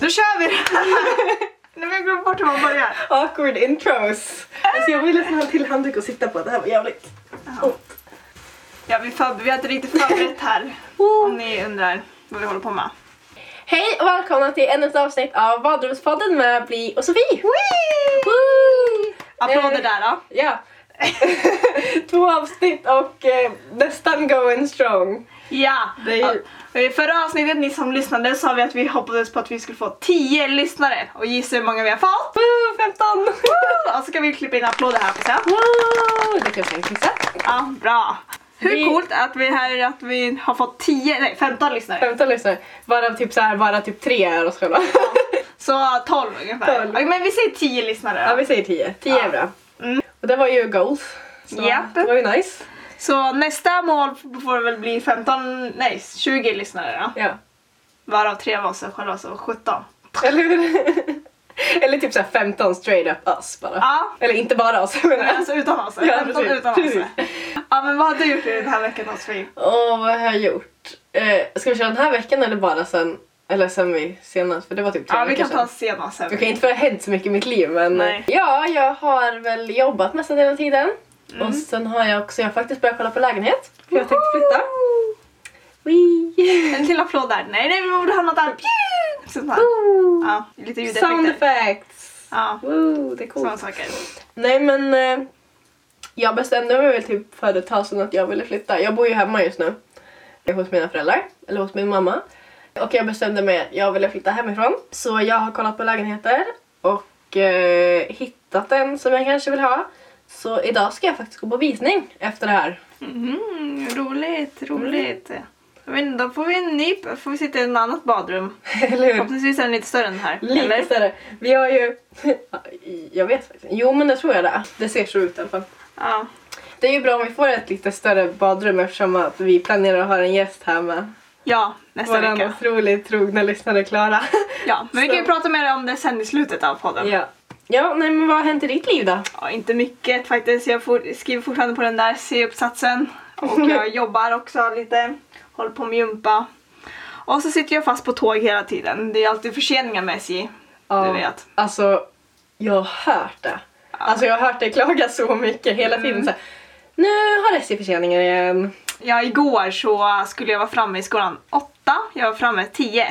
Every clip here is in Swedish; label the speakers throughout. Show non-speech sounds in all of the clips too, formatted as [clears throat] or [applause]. Speaker 1: Då kör vi! [laughs] Nej men jag glömde bort hur man börjar.
Speaker 2: Awkward intros. Alltså jag ville få en till handduk att sitta på. Det här var jävligt.
Speaker 1: Ja, vi, förber- vi har inte riktigt förberett här. Om ni undrar vad vi håller på med.
Speaker 3: Hej och välkomna till ännu ett avsnitt av Badrumspodden med Bli och Sofie! Woo!
Speaker 1: Applåder
Speaker 3: Eh,
Speaker 1: där då.
Speaker 3: Ja. [laughs] Två avsnitt och eh, nästan going strong.
Speaker 1: Ja!
Speaker 2: Det är ju-
Speaker 1: Ja, I förra avsnittet, ni som lyssnade, sa vi att vi hoppades på att vi skulle få 10 lyssnare. Och gissa hur många vi har fått?
Speaker 3: Woo, 15!
Speaker 1: Och så kan vi klippa in applåder här på sen.
Speaker 3: Woo! Det kanske är en kissa.
Speaker 1: Ja, bra. Hur
Speaker 3: Vi-
Speaker 1: coolt att vi, här, att vi har fått 10, nej 15 lyssnare.
Speaker 3: 15 lyssnare. Varav typ så här, bara typ tre är oss själva.
Speaker 1: Så 12 ungefär.
Speaker 3: 12.
Speaker 1: Ja, men vi säger 10 lyssnare.
Speaker 3: [laughs] ja, vi säger 10. 10 är bra.
Speaker 1: Mm.
Speaker 3: Och det var ju goals. Så
Speaker 1: Japp.
Speaker 3: det var ju nice.
Speaker 1: Så nästa mål får väl bli 15, nej 20 lyssnare då.
Speaker 3: Ja.
Speaker 1: Varav tre var oss själva, så 17. [laughs]
Speaker 3: Eller hur? Eller typ så här 15 straight up us bara.
Speaker 1: Ja.
Speaker 3: Eller inte bara oss. [laughs] men-
Speaker 1: Men Alltså utan oss.
Speaker 3: Ja,
Speaker 1: 15
Speaker 3: precis,
Speaker 1: utan oss.
Speaker 3: precis.
Speaker 1: Ja men vad har du gjort i den här veckan då Sofie?
Speaker 3: Åh, vad har jag gjort? Eh, ska vi köra den här veckan eller bara sen? Eller sen vi senast? För det var typ tre
Speaker 1: Ja vi
Speaker 3: veckor
Speaker 1: kan ta
Speaker 3: sedan.
Speaker 1: senast sen.
Speaker 3: Okej, inte för det har hänt så mycket i mitt liv men... eh,
Speaker 1: Nej.
Speaker 3: Ja, jag har väl jobbat mestadels hela tiden. Och sen har jag också, jag har faktiskt börjat kolla på lägenhet. För Mm. jag tänkte flytta. Wee.
Speaker 1: En till applåd där. Nej nej vi borde ha något annat. Pju! Sånt här.
Speaker 3: Woo.
Speaker 1: Ja, lite
Speaker 3: Sound
Speaker 1: ljudeffekter.
Speaker 3: effects!
Speaker 1: Ja,
Speaker 3: Woo, det är coolt.
Speaker 1: sådana saker.
Speaker 3: Nej men eh, jag bestämde mig väl typ för ett tag sedan att jag ville flytta. Jag bor ju hemma just nu. Hos mina föräldrar, eller hos min mamma. Och jag bestämde mig att jag ville flytta hemifrån. Så jag har kollat på lägenheter och eh, hittat en som jag kanske vill ha. Så idag ska jag faktiskt gå på visning efter det här. [laughs]
Speaker 1: Mhm, roligt,
Speaker 3: Mm.
Speaker 1: roligt. Men då får vi en ny, får vi sitta i ett annat badrum.
Speaker 3: Eller hur?
Speaker 1: Förhoppningsvis är den lite större än den här.
Speaker 3: Mm. Lite
Speaker 1: eller?
Speaker 3: större. Vi har ju... [laughs] Jag vet faktiskt Jo men det tror jag det är. Det ser så ut i alla fall.
Speaker 1: Ja.
Speaker 3: Det är ju bra om vi får ett lite större badrum eftersom att vi planerar att ha en gäst här med.
Speaker 1: ja, nästa
Speaker 3: Vår
Speaker 1: vecka.
Speaker 3: otroligt trogna lyssnare Klara.
Speaker 1: Ja, men vi kan ju
Speaker 3: Så.
Speaker 1: prata mer om det sen i slutet av podden.
Speaker 3: ja. ja, nej men vad har hänt i ditt liv då?
Speaker 1: Ja, inte mycket faktiskt. Jag for, skriver fortfarande på den där C-uppsatsen.
Speaker 3: [laughs]
Speaker 1: Och jag jobbar också lite. Håller på med gympa. Och så sitter jag fast på tåg hela tiden. Det är alltid förseningar med SJ. Du vet.
Speaker 3: Alltså, jag har hört det. Alltså jag har hört dig klaga så mycket hela
Speaker 1: Mm.
Speaker 3: tiden. Så här, nu har SJ förseningar igen.
Speaker 1: Ja, igår så skulle jag vara framme i skolan åtta. Jag var framme tio.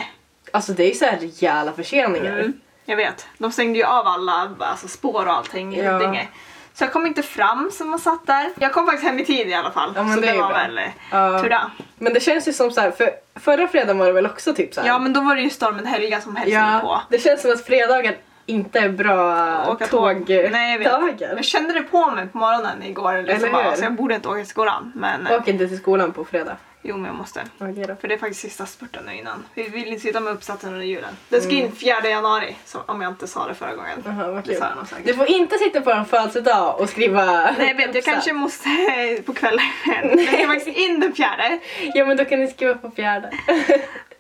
Speaker 3: Alltså det är ju så här rejäla förseningar.
Speaker 1: Mm, jag vet. De stängde ju av alla alltså, spår och allting. i
Speaker 3: Ja.
Speaker 1: Huddinge. Så jag kom inte fram som man satt där. Jag kom faktiskt hem i tid i alla fall.
Speaker 3: Ja, men
Speaker 1: så
Speaker 3: det
Speaker 1: det,
Speaker 3: är ju
Speaker 1: var
Speaker 3: bra.
Speaker 1: väl uh,
Speaker 3: Ja.
Speaker 1: tur det.
Speaker 3: Men det känns ju som så här, för förra fredagen var det väl också typ så här.
Speaker 1: Ja men då var det ju stormen Helga som hälsade på.
Speaker 3: ja det känns som att fredagar inte är bra
Speaker 1: Åka tåg.
Speaker 3: tågdagar.
Speaker 1: Nej, jag vet. Jag kände det på mig på morgonen igår. Liksom,
Speaker 3: Eller
Speaker 1: bara,
Speaker 3: hur?
Speaker 1: alltså, jag borde inte åka till skolan. Men eh,
Speaker 3: Åk inte till skolan på fredag.
Speaker 1: jo men jag måste.
Speaker 3: Okej då.
Speaker 1: För det är faktiskt sista spurten nu innan. Vi vill inte sitta med uppsatsen under julen. Den ska in 4 januari. Så, om jag inte sa det förra gången.
Speaker 3: Jaha, Mm. vad
Speaker 1: det
Speaker 3: kul.
Speaker 1: sa jag nog säkert.
Speaker 3: Du får inte sitta på en födelsedag och
Speaker 1: [laughs]
Speaker 3: skriva
Speaker 1: Nej jag vet, jag
Speaker 3: uppsats.
Speaker 1: kanske måste eh, på
Speaker 3: [laughs]
Speaker 1: kvällen. Jag ska faktiskt in den fjärde.
Speaker 3: Ja men då kan ni skriva på fjärde.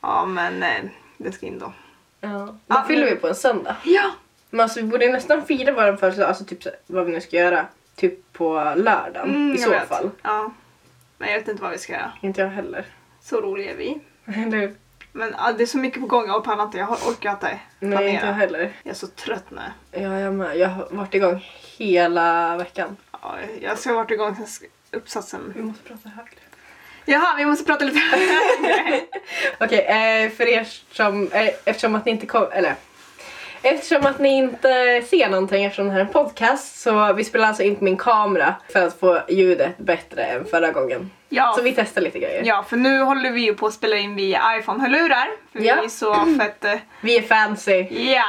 Speaker 1: Ja men eh, den ska in då.
Speaker 3: ja. Då
Speaker 1: [laughs] Ja,
Speaker 3: fyller
Speaker 1: men-
Speaker 3: vi på en söndag.
Speaker 1: Ja!
Speaker 3: Men alltså vi borde nästan fira vår födelsedag, alltså typ så- vad vi nu ska göra. Typ på lördagen i så fall.
Speaker 1: Mm, Ja. Men jag vet inte vad vi ska göra.
Speaker 3: Inte
Speaker 1: [laughs]
Speaker 3: jag heller.
Speaker 1: Så roliga är vi.
Speaker 3: Eller hur?
Speaker 1: Men ah, det är så mycket på gång, jag pallar inte. Jag har- orkar inte planera.
Speaker 3: Nej inte jag heller.
Speaker 1: Jag är så trött nu.
Speaker 3: Ja, jag med. Jag har varit igång hela veckan.
Speaker 1: Ja, jag ska ha varit igång sen sk- uppsatsen.
Speaker 3: Vi måste prata högre.
Speaker 1: Jaha, vi måste prata lite [laughs] högre.
Speaker 3: Okej, eh, för er som, eh, eftersom att ni inte kom, eller Eftersom att ni inte ser någonting eftersom det här är en podcast så vi spelar alltså in på min kamera för att få ljudet bättre än förra gången.
Speaker 1: ja,
Speaker 3: Så vi testar lite grejer.
Speaker 1: ja, för nu håller vi ju på att spela in via iPhone-hörlurar. För vi
Speaker 3: Ja.
Speaker 1: är
Speaker 3: [clears throat]
Speaker 1: så fett... eh,
Speaker 3: Vi är fancy,
Speaker 1: Ja!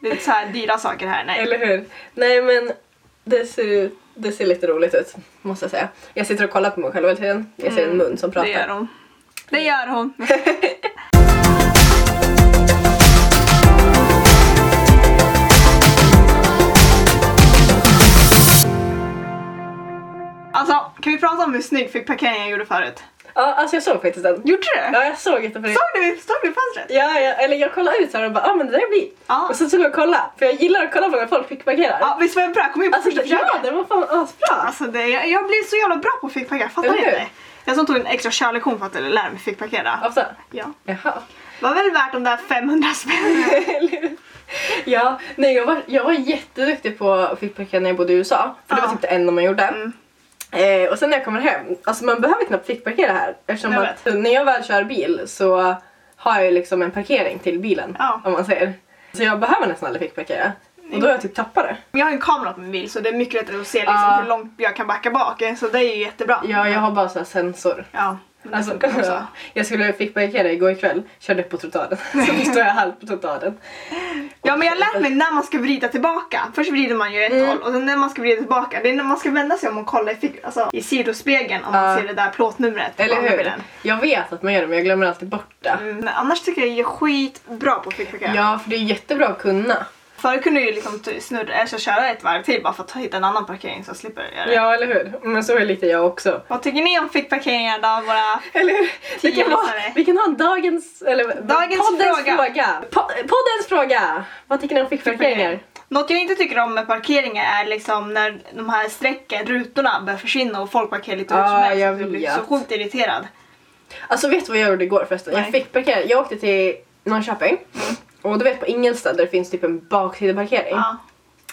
Speaker 1: Det är så här dyra saker här. Nej.
Speaker 3: eller hur? Nej men det ser, det ser lite roligt ut måste jag säga. Jag sitter och kollar på mig själv hela tiden. Jag ser en mun som
Speaker 1: Mm. det gör
Speaker 3: pratar.
Speaker 1: hon. Det gör hon. [laughs] Alltså, kan vi prata om hur snygg fick parkeringen jag gjorde förut?
Speaker 3: Ja, alltså jag såg faktiskt den.
Speaker 1: Gjorde du?
Speaker 3: Ja, jag såg inte för det.
Speaker 1: Såg du, såg du fönstret?
Speaker 3: Ja, ja, eller jag kollade ut så här och bara ah, men det där blir.
Speaker 1: Ja.
Speaker 3: Och så tog jag och kollade, för jag gillar att kolla på när folk fickparkerar.
Speaker 1: Ja, visst var jag bra? Kom in på
Speaker 3: Alltså,
Speaker 1: första
Speaker 3: det, ja,
Speaker 1: försöket.
Speaker 3: den var fan asbra!
Speaker 1: Alltså, det, jag, jag blir så jävla bra på att fickparkera, fattar
Speaker 3: Eller
Speaker 1: du
Speaker 3: hur?
Speaker 1: inte? Jag som tog en extra körlektion för att lära mig fickparkera.
Speaker 3: Alltså,
Speaker 1: Ja.
Speaker 3: jaha.
Speaker 1: Var väl värt de där 500 spännen.
Speaker 3: Ja, nej jag var, jag var jätteduktig på att fickpacka när jag bodde i USA. För det
Speaker 1: Ja.
Speaker 3: var typ det enda man gjorde.
Speaker 1: Mm.
Speaker 3: Eh, och sen när jag kommer hem, alltså man behöver knappt fickparkera här. Eftersom
Speaker 1: Jag
Speaker 3: att när jag väl kör bil så har jag ju liksom en parkering till bilen.
Speaker 1: Ja.
Speaker 3: Om man säger. Så jag behöver nästan aldrig fickparkera. Och då har jag typ tappat det.
Speaker 1: Jag har ju en kamera på min bil så det är mycket lättare att se liksom,
Speaker 3: Ja.
Speaker 1: hur långt jag kan backa bak. Så det är ju jättebra.
Speaker 3: Ja, jag har bara så här sensor.
Speaker 1: Ja, Mm. det
Speaker 3: Alltså,
Speaker 1: funkar också.
Speaker 3: ja. jag skulle fickparkera igår kväll, körde upp på trottoaren. [laughs] Så nu står jag halvt på trottoaren.
Speaker 1: Ja men jag har lärt mig när man ska vrida tillbaka. Först vrider man ju i ett håll och sen när man ska vrida tillbaka. Det är när man ska vända sig om och kolla i, fick, alltså, i sidospegeln om man
Speaker 3: Ja.
Speaker 1: ser det där plåtnumret. på
Speaker 3: Eller
Speaker 1: andra
Speaker 3: hur?
Speaker 1: bilden.
Speaker 3: Jag vet att man gör det men jag glömmer alltid bort det.
Speaker 1: Mm, men annars tycker jag jag är skitbra på att fickparkera.
Speaker 3: Ja, för det är jättebra att kunna.
Speaker 1: Förr kunde jag ju liksom t- snurra, eller så köra ett varv till bara för att hitta en annan parkering så jag slipper göra det.
Speaker 3: Ja, eller hur? Men så är lite jag också.
Speaker 1: Vad tycker ni om fickparkeringar då? Våra...
Speaker 3: Eller hur? Vi kan,
Speaker 1: Tio
Speaker 3: ha,
Speaker 1: lyssnare.
Speaker 3: vi kan ha en dagens... Eller,
Speaker 1: Dagens
Speaker 3: poddens
Speaker 1: fråga.
Speaker 3: Po- poddens fråga! Vad tycker ni om fickparkeringar?
Speaker 1: Något jag inte tycker om med parkeringar är liksom när de här strecken, rutorna börjar försvinna och folk parkerar lite hur
Speaker 3: Ja,
Speaker 1: som helst.
Speaker 3: jag
Speaker 1: Jag blir
Speaker 3: vet. Mm.
Speaker 1: så sjukt irriterad.
Speaker 3: Alltså vet du vad jag gjorde igår förresten?
Speaker 1: Nej. Mm.
Speaker 3: Jag fick parkera. Jag åkte till Norrköping. Och du vet på Ingelstad där det finns typ en baksideparkering.
Speaker 1: Ja.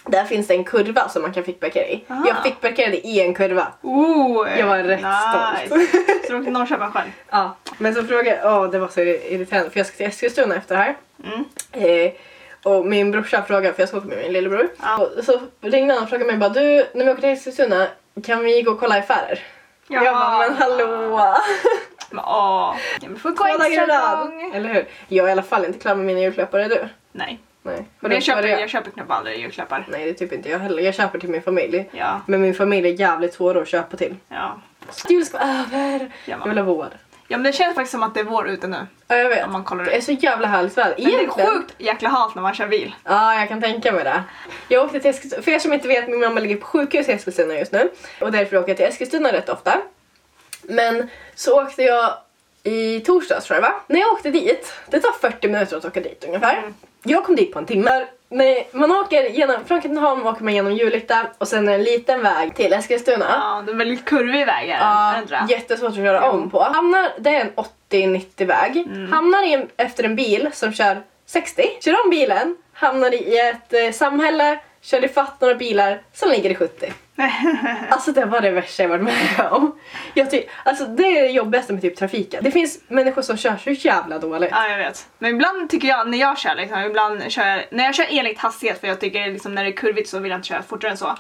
Speaker 3: Där finns det en kurva som man kan fickparkera i.
Speaker 1: Ah.
Speaker 3: Jag fickparkerade i en kurva.
Speaker 1: Ooh,
Speaker 3: Jag var rätt stolt. [laughs]
Speaker 1: Så du åkte till Norrköping själv?
Speaker 3: Ja. Men så frågade jag, åh det var så irriterande för jag ska till Eskilstuna efter det här.
Speaker 1: Mm.
Speaker 3: Eh, och min brorsa frågade, för jag ska åka med min lillebror. Och så ringde han och frågade mig bara du, när vi åker till Eskilstuna kan vi gå och kolla affärer?
Speaker 1: Ja.
Speaker 3: Jag bara, men hallå!
Speaker 1: Men, åh. Ja, men får [laughs] gå
Speaker 3: Två dagar i
Speaker 1: extra
Speaker 3: rad.
Speaker 1: lång.
Speaker 3: Eller hur? Jag är i alla fall inte klar med mina julklappar, är du?
Speaker 1: Nej.
Speaker 3: Nej.
Speaker 1: Men jag köper,
Speaker 3: Var det
Speaker 1: jag köper knappt aldrig julklappar.
Speaker 3: Nej, det är typ inte jag heller. Jag köper till min familj.
Speaker 1: Ja,
Speaker 3: Men min familj är jävligt svår att köpa till.
Speaker 1: ja.
Speaker 3: Julen ska vara över!
Speaker 1: Ja,
Speaker 3: Jag vill ha vår.
Speaker 1: ja men det känns faktiskt som att det är vår ute nu.
Speaker 3: Ja, jag vet.
Speaker 1: Om man kollar
Speaker 3: Det är
Speaker 1: ut.
Speaker 3: så jävla härligt väder.
Speaker 1: Men det är
Speaker 3: Egentligen-
Speaker 1: sjukt jäkla halt när man kör bil.
Speaker 3: Ja, jag kan tänka mig det. Jag åkte till Eskilstuna, för er som inte vet, min mamma ligger på sjukhus i Eskilstuna just nu. Och därför åker jag till Eskilstuna rätt ofta. Men så åkte jag i torsdags tror jag va? När jag åkte dit, det tar 40 minuter att åka dit ungefär.
Speaker 1: Mm.
Speaker 3: Jag kom dit på en timme. Nej, man åker genom, från Katrineholm åker man genom Julita och sen är det en liten väg till Eskilstuna.
Speaker 1: Ja, det är väldigt kurvig väg
Speaker 3: Ja,
Speaker 1: är det
Speaker 3: jättesvårt att köra om på. Hamnar, det är en 80-90 väg.
Speaker 1: Mm.
Speaker 3: Hamnar i en, efter en bil som kör 60. Kör om bilen, hamnar i ett eh, samhälle, kör ifatt några bilar som ligger
Speaker 1: [laughs]
Speaker 3: i 70. Alltså det var det värsta jag varit med om. Jag ty- alltså det är det jobbigaste med typ trafiken. Det finns människor som kör så jävla dåligt.
Speaker 1: Ja, jag vet. Men ibland tycker jag, när jag kör liksom, ibland kör jag, när jag kör enligt hastighet för jag tycker liksom, när det är kurvigt så vill jag inte köra fortare än så.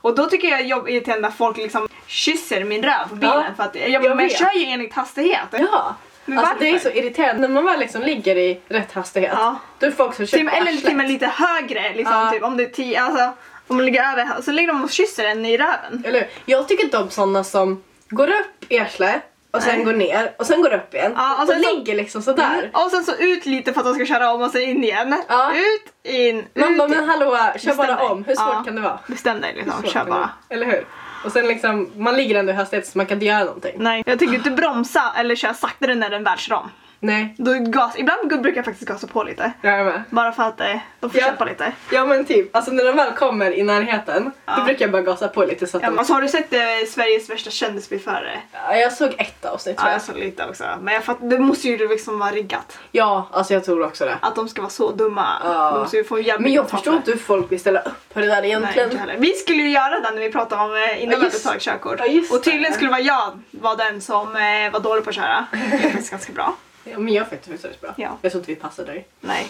Speaker 1: Och då tycker jag jobb irriterande när folk liksom kysser min röv på bilen
Speaker 3: Ja,
Speaker 1: för att jag,
Speaker 3: jag
Speaker 1: men jag
Speaker 3: vet.
Speaker 1: kör ju enligt hastighet.
Speaker 3: Ja.
Speaker 1: Men
Speaker 3: alltså det är
Speaker 1: varför?
Speaker 3: så irriterande när man väl liksom ligger i rätt hastighet.
Speaker 1: Ja.
Speaker 3: Då är det folk som kör
Speaker 1: Till,
Speaker 3: på
Speaker 1: eller
Speaker 3: arslet.
Speaker 1: till och med lite högre liksom,
Speaker 3: Ja.
Speaker 1: typ, om det är tio, alltså om man ligger över, så ligger de och kysser en i röven.
Speaker 3: Eller hur? Jag tycker inte om sådana som går upp i arslet och sen går ner och sen går upp igen.
Speaker 1: Ja, alltså och
Speaker 3: och
Speaker 1: sen så-
Speaker 3: ligger liksom sådär.
Speaker 1: Mm. Och sen så ut lite för att de ska köra om och sen in igen.
Speaker 3: Ja.
Speaker 1: Ut, in,
Speaker 3: Man
Speaker 1: ut.
Speaker 3: bara, men hallå, kör
Speaker 1: Bestäm
Speaker 3: bara
Speaker 1: dig.
Speaker 3: om. Hur svårt
Speaker 1: Ja.
Speaker 3: kan det vara?
Speaker 1: Bestäm dig liksom,
Speaker 3: Svårt
Speaker 1: kör
Speaker 3: kan det
Speaker 1: bara.
Speaker 3: vara. Eller hur? Och sen liksom, man ligger ändå i hastighet så man kan inte göra någonting.
Speaker 1: Nej, jag tycker inte bromsa eller köra saktare när den väl kör om.
Speaker 3: Nej.
Speaker 1: Då gas, ibland brukar jag faktiskt gasa på lite.
Speaker 3: Jag är med.
Speaker 1: Bara för att eh, de får
Speaker 3: Ja.
Speaker 1: kämpa lite.
Speaker 3: Ja men typ, alltså när de väl kommer i närheten
Speaker 1: Ja.
Speaker 3: då brukar jag bara gasa på lite så att
Speaker 1: Ja,
Speaker 3: de...
Speaker 1: alltså, har du sett eh, Sveriges värsta kändisbilförare?
Speaker 3: Ja, jag såg ett avsnitt tror
Speaker 1: Ja,
Speaker 3: jag.
Speaker 1: jag såg lite också. Men jag fatt, det måste ju liksom vara riggat.
Speaker 3: Ja, alltså jag tror också det.
Speaker 1: Att de ska vara så dumma.
Speaker 3: Ja.
Speaker 1: De måste ju få jävligt
Speaker 3: Men jag
Speaker 1: betalt
Speaker 3: förstår
Speaker 1: för
Speaker 3: inte hur folk vill ställa upp på det där
Speaker 1: det. Nej,
Speaker 3: egentligen.
Speaker 1: inte heller. Vi skulle ju göra det när vi pratade om eh, innan
Speaker 3: Ja,
Speaker 1: vi hade
Speaker 3: just-
Speaker 1: tagit körkort.
Speaker 3: ja, just
Speaker 1: och tydligen
Speaker 3: det.
Speaker 1: skulle vara jag vara den som eh, var dålig på att
Speaker 3: [laughs]
Speaker 1: köra. Det är faktiskt ganska bra.
Speaker 3: ja, men jag fick det faktiskt bra.
Speaker 1: Ja.
Speaker 3: Jag tror inte vi passar där.
Speaker 1: Nej,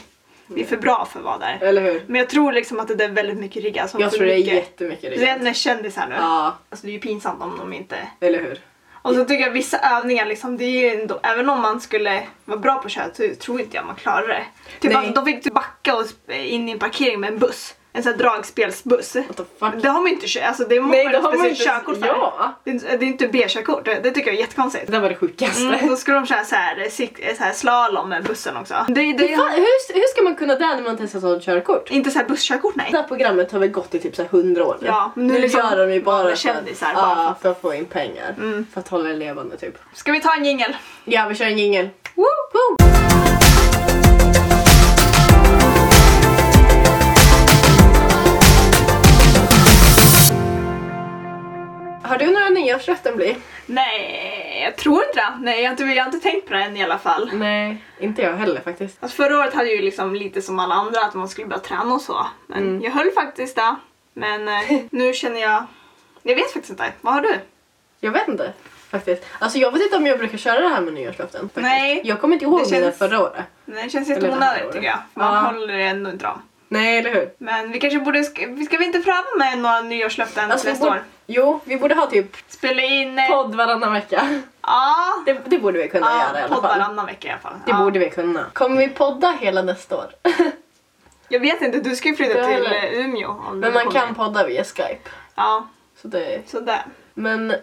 Speaker 1: vi är för bra för att vara där.
Speaker 3: Eller hur?
Speaker 1: Men jag tror liksom att det där är väldigt mycket riggat. som
Speaker 3: Jag
Speaker 1: får
Speaker 3: tror det är
Speaker 1: mycket-
Speaker 3: jättemycket
Speaker 1: Det är
Speaker 3: riggat.
Speaker 1: en kändis här nu.
Speaker 3: Ja,
Speaker 1: Alltså det är ju pinsamt om de inte...
Speaker 3: eller hur?
Speaker 1: Och så tycker jag vissa övningar liksom, det är ju ändå, även om man skulle vara bra på att köra så tror inte jag man klarar det. Typ
Speaker 3: Nej.
Speaker 1: alltså, de fick typ backa och sp- in i en parkering med en buss. En sån här dragspelsbuss.
Speaker 3: What the fuck?
Speaker 1: Det har man ju inte kört, alltså det måste
Speaker 3: Nej,
Speaker 1: man
Speaker 3: det
Speaker 1: ha ett
Speaker 3: har man
Speaker 1: speciellt
Speaker 3: inte-
Speaker 1: körkort för.
Speaker 3: ja.
Speaker 1: Det, är, det är inte B-körkort, det, det tycker jag är jättekonstigt.
Speaker 3: Det där var det sjukaste.
Speaker 1: Mm, då skulle de köra så här, eh, sik- så här slalom med bussen också. Det, det,
Speaker 3: Hur, fan, hur, hur ska man kunna det när man inte ens har sånt körkort?
Speaker 1: Inte så här busskörkort nej.
Speaker 3: Det här programmet har väl gått i typ så här 100 år nu.
Speaker 1: Ja, men nu
Speaker 3: nu
Speaker 1: liksom
Speaker 3: gör de ju bara,
Speaker 1: vanliga
Speaker 3: för,
Speaker 1: kändisar, bara för
Speaker 3: ja,
Speaker 1: att-
Speaker 3: för att få in pengar. För att hålla det levande typ.
Speaker 1: Ska vi ta en jingel?
Speaker 3: Mm. Ja, vi kör en jingel. Har du några nyårslöften den bli?
Speaker 1: Nej, jag tror inte det. Nej, jag har inte, jag har inte tänkt på det än i alla fall.
Speaker 3: Nej, inte jag heller faktiskt.
Speaker 1: Alltså förra året hade jag ju liksom lite som alla andra att man skulle börja träna och så. Men jag höll faktiskt det. Men [laughs] eh, nu känner jag... Jag vet faktiskt inte. Vad har du?
Speaker 3: Jag vet inte faktiskt. Alltså jag vet inte om jag brukar köra det här med nyårslöften. faktiskt.
Speaker 1: Nej.
Speaker 3: Jag kommer inte ihåg
Speaker 1: Det
Speaker 3: mina
Speaker 1: känns-
Speaker 3: förra året.
Speaker 1: Nej, det känns
Speaker 3: Eller det här
Speaker 1: jätteonödigt
Speaker 3: året.
Speaker 1: tycker jag. Man
Speaker 3: Ja.
Speaker 1: håller ändå inte dem.
Speaker 3: Nej, eller hur?
Speaker 1: Men vi kanske borde... Ska, ska vi inte fram med några nyårslöften
Speaker 3: Alltså, vi
Speaker 1: nästa
Speaker 3: borde,
Speaker 1: år?
Speaker 3: jo, vi borde ha typ
Speaker 1: Spela in... eh,
Speaker 3: podd varannan vecka.
Speaker 1: Ja.
Speaker 3: Det, det borde vi kunna göra i
Speaker 1: Ja,
Speaker 3: alla
Speaker 1: podd
Speaker 3: fall.
Speaker 1: varannan vecka i alla fall.
Speaker 3: Det
Speaker 1: Ja.
Speaker 3: borde vi kunna. Kommer vi podda hela nästa
Speaker 1: [laughs]
Speaker 3: år?
Speaker 1: Jag vet inte, du ska ju flytta
Speaker 3: Jag
Speaker 1: till
Speaker 3: heller.
Speaker 1: eh, Umeå om
Speaker 3: Men
Speaker 1: du
Speaker 3: man kan
Speaker 1: kommer.
Speaker 3: podda via Skype.
Speaker 1: Ja,
Speaker 3: Så det...
Speaker 1: sådär.
Speaker 3: Men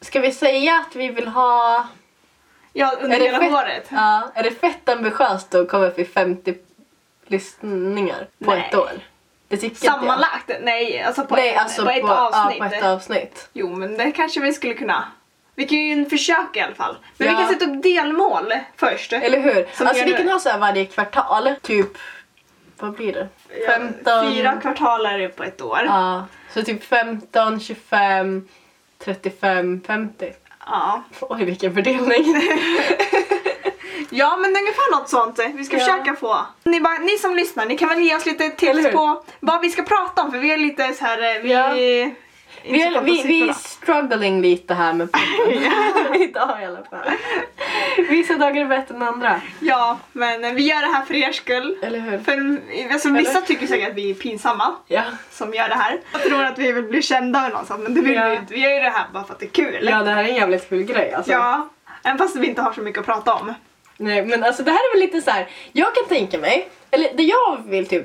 Speaker 3: ska vi säga att vi vill ha...
Speaker 1: Ja, under
Speaker 3: Är det
Speaker 1: hela
Speaker 3: fett?
Speaker 1: året.
Speaker 3: Ja, är det fett ambitiöst att komma upp i 50 lyssningar på
Speaker 1: Nej.
Speaker 3: ett år? Det tycker inte jag.
Speaker 1: Sammanlagt? Nej, alltså på,
Speaker 3: Nej,
Speaker 1: ett-
Speaker 3: alltså
Speaker 1: på ett avsnitt.
Speaker 3: Ja, på ett avsnitt.
Speaker 1: Jo, men det kanske vi skulle kunna. Vi kan ju försöka i alla fall. Men
Speaker 3: Ja.
Speaker 1: vi kan sätta upp delmål först.
Speaker 3: Eller hur?
Speaker 1: Som
Speaker 3: alltså
Speaker 1: gör
Speaker 3: vi
Speaker 1: nu.
Speaker 3: kan ha så här varje kvartal. Typ, vad blir det?
Speaker 1: Ja,
Speaker 3: 15...
Speaker 1: Fyra kvartaler på ett år. Ja.
Speaker 3: Ja, så typ 15, 25, 35, 50.
Speaker 1: Ja,
Speaker 3: Oj vilken fördelning.
Speaker 1: men ungefär något sånt. Vi ska
Speaker 3: Ja.
Speaker 1: försöka få. Ni, bara, ni som lyssnar, ni kan väl ge oss lite
Speaker 3: Eller
Speaker 1: tips
Speaker 3: hur?
Speaker 1: på vad vi ska prata om för vi är lite så här... eh, Vi,
Speaker 3: Ja. vi,
Speaker 1: [laughs] inte så bra på
Speaker 3: är, vi, vi är
Speaker 1: siffrorna.
Speaker 3: struggling lite
Speaker 1: [laughs]
Speaker 3: här med podden. Idag i alla fall. Vissa dagar är bättre än andra.
Speaker 1: Ja, men eh, vi gör det här för er skull.
Speaker 3: Eller hur?
Speaker 1: För, alltså, vissa tycker säkert att vi är pinsamma.
Speaker 3: Ja.
Speaker 1: som gör det här. Jag tror att vi vill bli kända eller något sånt, men det vill
Speaker 3: Ja.
Speaker 1: vi ju inte. Vi gör ju det här bara för att det är kul.
Speaker 3: ja, det här är en jävligt kul grej alltså.
Speaker 1: Ja, Även fast vi inte har så mycket att prata om.
Speaker 3: Nej, men alltså det här är väl lite så här. jag kan tänka mig, eller det jag vill typ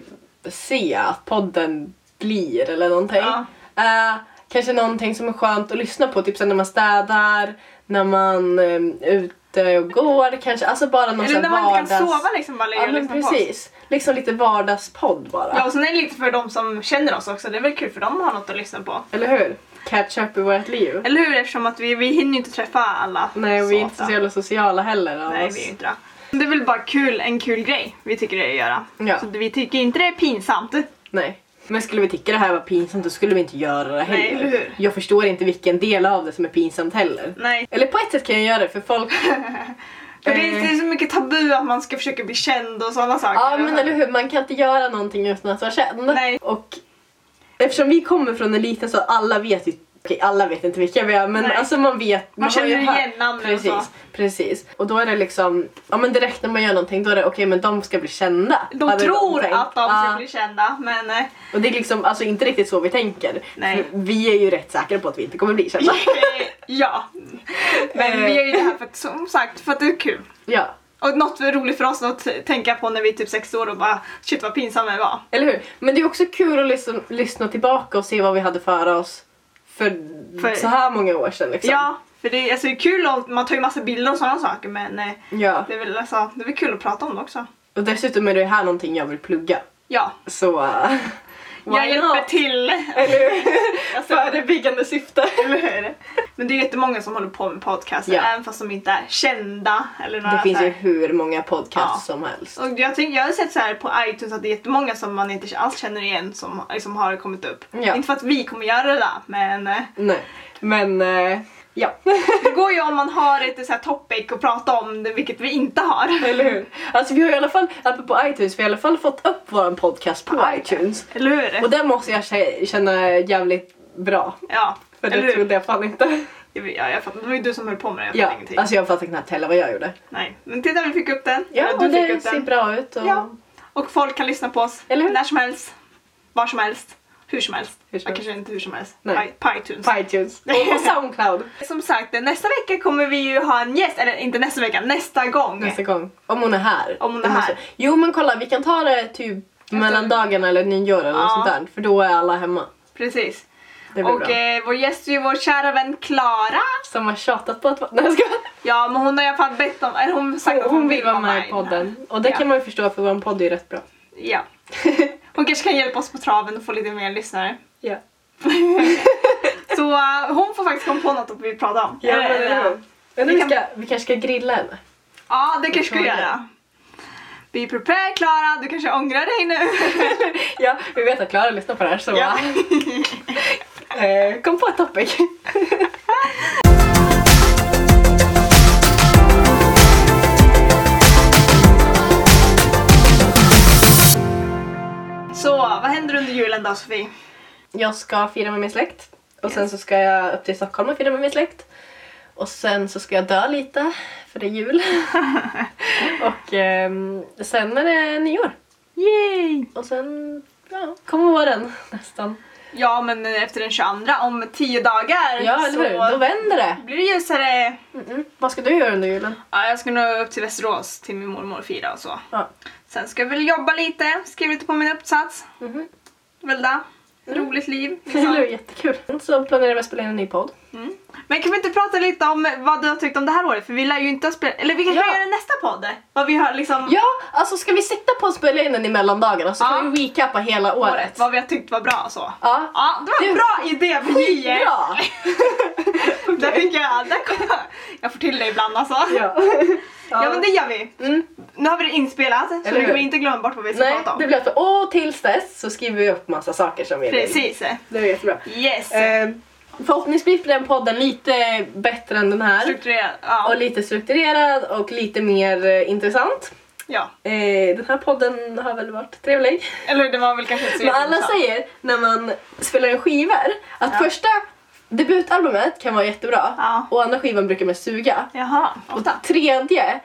Speaker 3: se att podden blir eller någonting.
Speaker 1: Ja.
Speaker 3: Eh, kanske någonting som är skönt att lyssna på, typ så här när man städar, när man um, ute och går kanske, alltså bara någon
Speaker 1: Eller
Speaker 3: sån
Speaker 1: när
Speaker 3: här
Speaker 1: man inte kan
Speaker 3: vardags-
Speaker 1: sova liksom bara ligga
Speaker 3: Ja
Speaker 1: och
Speaker 3: men
Speaker 1: lyssna på oss.
Speaker 3: precis, liksom lite vardagspodd bara.
Speaker 1: Ja, och sen är det lite för de som känner oss också. Det är väl kul för dem att ha något att lyssna på.
Speaker 3: Eller hur? Catch up i vårt liv.
Speaker 1: Eller hur? Eftersom att vi, vi hinner ju inte träffa alla.
Speaker 3: Nej, och vi är inte
Speaker 1: ofta.
Speaker 3: så jävla sociala heller av
Speaker 1: Nej,
Speaker 3: oss.
Speaker 1: vi är ju inte det. Det är väl bara kul, en kul grej vi tycker det är att göra.
Speaker 3: Ja.
Speaker 1: Så vi tycker inte det är pinsamt.
Speaker 3: Nej. Men skulle vi tycka det här var pinsamt då skulle vi inte göra det heller.
Speaker 1: Nej, eller hur?
Speaker 3: Jag förstår inte vilken del av det som är pinsamt heller.
Speaker 1: Nej.
Speaker 3: Eller på ett sätt kan jag göra det för
Speaker 1: [laughs]
Speaker 3: folk...
Speaker 1: För det, är,
Speaker 3: Eh.
Speaker 1: det är så mycket tabu att man ska försöka bli känd och sådana saker.
Speaker 3: ja men eller hur, man kan inte göra någonting utan att vara känd.
Speaker 1: Nej.
Speaker 3: Och eftersom vi kommer från en liten så alla vet ju Okej, alla vet inte vilka vi är men
Speaker 1: Nej.
Speaker 3: alltså man vet. Man, har
Speaker 1: känner
Speaker 3: ju
Speaker 1: igen
Speaker 3: hört-
Speaker 1: namnen och
Speaker 3: precis,
Speaker 1: så.
Speaker 3: Precis. Och då är det liksom, ja men direkt när man gör någonting då är det okej men de ska bli kända.
Speaker 1: De
Speaker 3: hade
Speaker 1: tror
Speaker 3: tänkt.
Speaker 1: att de ska
Speaker 3: Ja.
Speaker 1: bli kända, men
Speaker 3: [laughs]
Speaker 1: eh,
Speaker 3: Och det är liksom alltså inte riktigt så vi tänker.
Speaker 1: Nej.
Speaker 3: För Vi är ju rätt säkra på att vi inte kommer bli kända.
Speaker 1: ja. Men vi gör ju det här för att, som sagt, för att det är kul.
Speaker 3: ja.
Speaker 1: Och något roligt för oss att t- tänka på när vi är typ sex år och bara shit vad pinsamma jag var.
Speaker 3: Eller hur? Men det är också kul att lyssna, lyssna tillbaka och se vad vi hade för oss för,
Speaker 1: För-
Speaker 3: så här många år sedan. Liksom.
Speaker 1: Ja, för det är, alltså, det är kul och man tar ju massa bilder och sådana saker men eh,
Speaker 3: ja.
Speaker 1: det, är väl, alltså, det är väl kul att prata om det också.
Speaker 3: Och dessutom är det här någonting jag vill plugga.
Speaker 1: Ja,
Speaker 3: Så... Uh,
Speaker 1: [laughs] jag hjälper till. [laughs]
Speaker 3: Eller hur?
Speaker 1: Alltså,
Speaker 3: Förebyggande syfte.
Speaker 1: eller hur? men det är jättemånga som håller på med podcaster
Speaker 3: Ja.
Speaker 1: även fast de inte är kända. Eller några
Speaker 3: Det finns
Speaker 1: så
Speaker 3: ju
Speaker 1: här-
Speaker 3: hur många podcasts
Speaker 1: Ja.
Speaker 3: som helst.
Speaker 1: Och jag, tänk, jag har sett så här på iTunes att det är jättemånga som man inte alls känner igen som liksom har kommit upp.
Speaker 3: Ja.
Speaker 1: Inte för att vi kommer göra det där, men eh,
Speaker 3: Nej. Men... eh,
Speaker 1: [laughs]
Speaker 3: ja.
Speaker 1: det går ju om man har ett så här topic att prata om, det, vilket vi inte har.
Speaker 3: Eller hur? Alltså vi har i alla fall, apropå iTunes, vi har i alla fall fått upp vår podcast på iTunes.
Speaker 1: Eller hur?
Speaker 3: Och den måste jag kä- känna jävligt bra.
Speaker 1: Ja,
Speaker 3: För
Speaker 1: eller
Speaker 3: det
Speaker 1: hur?
Speaker 3: trodde jag fan inte.
Speaker 1: Jag, ja, jag fattar. Det var ju du som höll på med det, jag fattar
Speaker 3: Ja,
Speaker 1: ingenting.
Speaker 3: alltså jag fattar knappt heller vad jag gjorde.
Speaker 1: Nej. Men titta, vi fick upp den.
Speaker 3: Ja,
Speaker 1: Eller
Speaker 3: och
Speaker 1: du fick
Speaker 3: det
Speaker 1: upp
Speaker 3: ser
Speaker 1: den.
Speaker 3: bra ut. Och...
Speaker 1: Ja. Och folk kan lyssna på oss
Speaker 3: Eller hur?
Speaker 1: när som helst, var som helst, hur som helst.
Speaker 3: Hur som
Speaker 1: ja,
Speaker 3: helst.
Speaker 1: kanske inte hur som helst.
Speaker 3: Nej.
Speaker 1: På på iTunes.
Speaker 3: På iTunes. [laughs] Och på Soundcloud.
Speaker 1: Som sagt, eh, nästa vecka kommer vi ju ha en gäst, eller inte nästa vecka, nästa gång.
Speaker 3: Nästa gång. Om hon är här.
Speaker 1: Om hon är
Speaker 3: Jag
Speaker 1: här.
Speaker 3: måste- Jo men kolla, vi kan ta det typ mellan dagarna eller nyår eller
Speaker 1: Ja.
Speaker 3: något sånt där. För då är alla hemma.
Speaker 1: Precis.
Speaker 3: Det blir
Speaker 1: Och
Speaker 3: bra.
Speaker 1: eh, vår gäst är ju vår kära vän Klara.
Speaker 3: Som har tjatat på att vara... [laughs] Nej jag skojar.
Speaker 1: Ja, men hon har i alla fall bett om, eller hon har sagt
Speaker 3: Hon,
Speaker 1: att
Speaker 3: hon vill vara med i podden. Och det
Speaker 1: Ja.
Speaker 3: kan man ju förstå för vår podd är ju rätt bra.
Speaker 1: Ja. [laughs] Hon kanske kan hjälpa oss på traven och få lite mer lyssnare.
Speaker 3: Ja.
Speaker 1: Så eh, hon får faktiskt komma på något att vi pratar om.
Speaker 3: Ja,
Speaker 1: Eller,
Speaker 3: men,
Speaker 1: eller,
Speaker 3: eller, men
Speaker 1: Vi
Speaker 3: vi,
Speaker 1: kan-
Speaker 3: ska, vi kanske ska grilla henne.
Speaker 1: ja, det kanske ska vi
Speaker 3: tror det.
Speaker 1: göra. Be prepared Klara, du kanske ångrar dig nu.
Speaker 3: [laughs] Ja, vi vet att Klara lyssnar på det här så
Speaker 1: Ja.
Speaker 3: eh, kom på ett topic.
Speaker 1: [laughs] Så, vad händer under julen då Sofie?
Speaker 3: Jag ska fira med min släkt. Och sen så ska jag upp till Stockholm och fira med min släkt. Och sen så ska jag dö lite, för det är [laughs] jul. och ehm, sen är det nyår.
Speaker 1: Yay!
Speaker 3: Och sen ja, kommer våren nästan.
Speaker 1: Ja, men efter den 22, om 10 dagar
Speaker 3: Ja, eller
Speaker 1: så
Speaker 3: hur? Då vänder det.
Speaker 1: blir det ljusare.
Speaker 3: Mm-mm. Vad ska du göra under julen?
Speaker 1: Ja, jag ska nog upp till Västerås till min mormor och fira och så.
Speaker 3: Ja.
Speaker 1: Sen ska jag väl jobba lite, skriva lite på min uppsats.
Speaker 3: Mhm.
Speaker 1: Väl det?
Speaker 3: Mm.
Speaker 1: Roligt
Speaker 3: [laughs]
Speaker 1: liv.
Speaker 3: Det är
Speaker 1: Liksom.
Speaker 3: ju jättekul. Så planerar vi att spela in en ny podd.
Speaker 1: Mm. Men kan vi inte prata lite om vad du har tyckt om det här året? För vi lär ju inte ha spelat... Eller vi kanske
Speaker 3: Ja.
Speaker 1: kan göra nästa podd? Vad vi har liksom...
Speaker 3: Ja, alltså ska vi sitta på och spela in den i mellandagarna så
Speaker 1: Ja.
Speaker 3: kan vi recapa hela året.
Speaker 1: Vad vi har tyckt var bra och så.
Speaker 3: Ja.
Speaker 1: Ja, det var en
Speaker 3: Du-
Speaker 1: bra idé vi
Speaker 3: [laughs]
Speaker 1: ger!
Speaker 3: Bra!
Speaker 1: [laughs] Där fick jag... Där kom [laughs] jag. jag får till det ibland alltså. Ja.
Speaker 3: ja.
Speaker 1: men det gör vi.
Speaker 3: Mm.
Speaker 1: Nu har vi det inspelat så
Speaker 3: Eller
Speaker 1: vi kommer
Speaker 3: hur?
Speaker 1: inte glömma bort vad vi ska
Speaker 3: Nej,
Speaker 1: prata om.
Speaker 3: det blir att och tills dess så skriver vi upp massa saker som vi vill.
Speaker 1: Precis.
Speaker 3: Det är jättebra.
Speaker 1: Yes!
Speaker 3: Eh, förhoppningsvis blir den podden lite bättre än den här.
Speaker 1: Strukturerat. Ja.
Speaker 3: Och lite strukturerad och lite mer eh, intressant.
Speaker 1: ja.
Speaker 3: Eh, den här podden har väl varit trevlig.
Speaker 1: Eller det var väl kanske inte så
Speaker 3: Men alla
Speaker 1: jätteintressant.
Speaker 3: säger när man spelar in skivor att första debutalbumet kan vara jättebra
Speaker 1: Ja.
Speaker 3: och andra skivan brukar man suga.
Speaker 1: Jaha,
Speaker 3: Och
Speaker 1: ofta.
Speaker 3: tredje,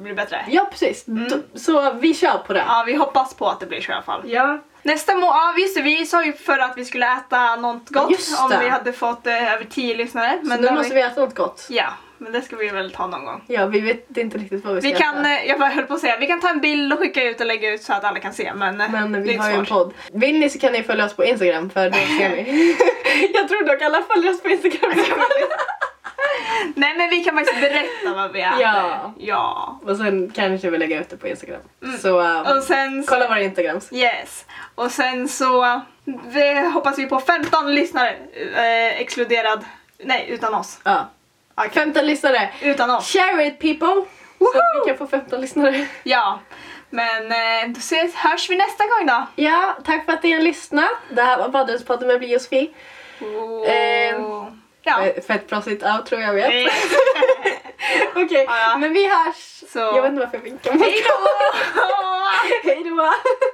Speaker 1: Blir bättre.
Speaker 3: ja precis, då, så vi kör på det.
Speaker 1: Ja, vi hoppas på att det blir så i alla fall.
Speaker 3: Ja.
Speaker 1: Nästa må... Ja, just det. Vi sa ju förra att vi skulle äta något gott
Speaker 3: Just
Speaker 1: om
Speaker 3: det.
Speaker 1: vi hade fått eh, över 10 lyssnare.
Speaker 3: Men
Speaker 1: Men
Speaker 3: nu
Speaker 1: det har
Speaker 3: måste vi äta något gott.
Speaker 1: Ja, men det ska vi väl ta någon gång.
Speaker 3: Ja, vi vet inte riktigt vad vi ska
Speaker 1: Vi kan,
Speaker 3: äta.
Speaker 1: eh, jag bara höll på att säga, vi kan ta en bild och skicka ut och lägga ut så att alla kan se men, eh,
Speaker 3: Men
Speaker 1: det
Speaker 3: vi
Speaker 1: är
Speaker 3: har ju en
Speaker 1: svårt.
Speaker 3: podd. Vill ni så kan ni följa oss på Instagram för då
Speaker 1: [laughs]
Speaker 3: ser ni. jag tror dock alla följer oss på Instagram.
Speaker 1: Nej men vi kan faktiskt berätta vad vi äter.
Speaker 3: Ja.
Speaker 1: ja.
Speaker 3: [laughs] och sen kanske vi lägger ut det på Instagram. Så eh,
Speaker 1: Mm. Och sen så,
Speaker 3: kolla våra Instagrams.
Speaker 1: yes. Och sen så vi hoppas vi på 15 lyssnare eh, exkluderad, nej utan oss.
Speaker 3: Ja.
Speaker 1: Okej.
Speaker 3: 15 lyssnare.
Speaker 1: Utan oss.
Speaker 3: Share it people! Så att vi kan få 15 lyssnare.
Speaker 1: Ja. Men eh, då ses, hörs vi nästa gång då.
Speaker 3: Ja, tack för att ni har lyssnat. Det här var Badrumspodden med Bli och Sofie. Ehm,
Speaker 1: ja.
Speaker 3: Eh, Fett proffsigt outro, jag vet.
Speaker 1: Hej. [laughs]
Speaker 3: [laughs] Okej,
Speaker 1: Ja, ja.
Speaker 3: men vi hörs.
Speaker 1: Så.
Speaker 3: Jag vet inte varför jag vinkar.
Speaker 1: Hej då!
Speaker 3: [laughs] Hej då!